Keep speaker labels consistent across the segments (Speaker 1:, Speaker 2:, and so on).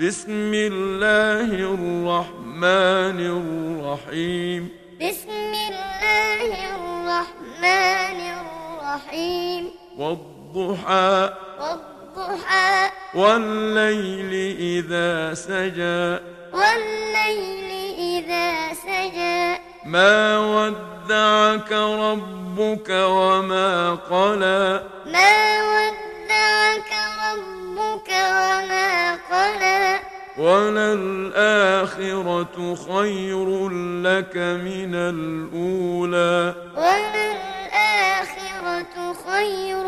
Speaker 1: بسم الله الرحمن الرحيم
Speaker 2: بسم الله الرحمن الرحيم
Speaker 1: والضحى
Speaker 2: والضحى
Speaker 1: والليل إذا سجى
Speaker 2: والليل إذا سجى
Speaker 1: ما ودعك ربك وما قلى
Speaker 2: ما ودعك ربك وما قلى
Speaker 1: وللآخرة خير لك من الأولى
Speaker 2: وللآخرة خير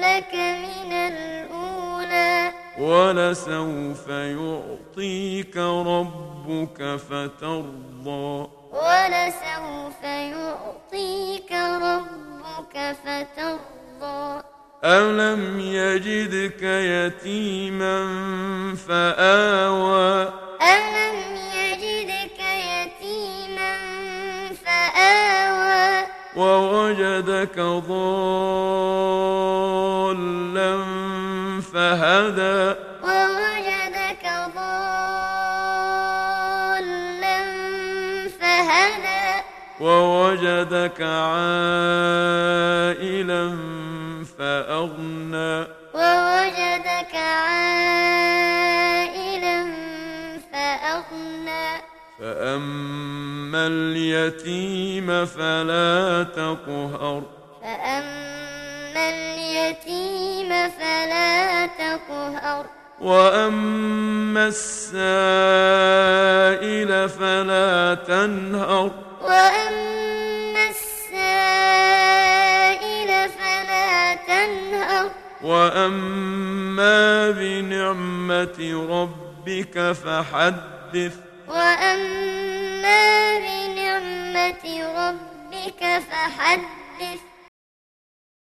Speaker 2: لك من الأولى
Speaker 1: ولسوف يعطيك ربك فترضى
Speaker 2: ولسوف يعطيك ربك فترضى
Speaker 1: ألم يجدك يتيما فآوى
Speaker 2: ألم يجدك يتيما فآوى
Speaker 1: ووجدك ضالا فهدى
Speaker 2: ووجدك ضالا فهدى
Speaker 1: ووجدك عائلا فأغنى
Speaker 2: ووجدك عائلا فأغنى
Speaker 1: فأما اليتيم فلا تقهر
Speaker 2: فأما اليتيم فلا تقهر
Speaker 1: وأما السائل فلا تنهر
Speaker 2: وأما السائل فلا تنهر
Speaker 1: وأما بنعمة ربك فحدث
Speaker 2: وأما بنعمة ربك فحدث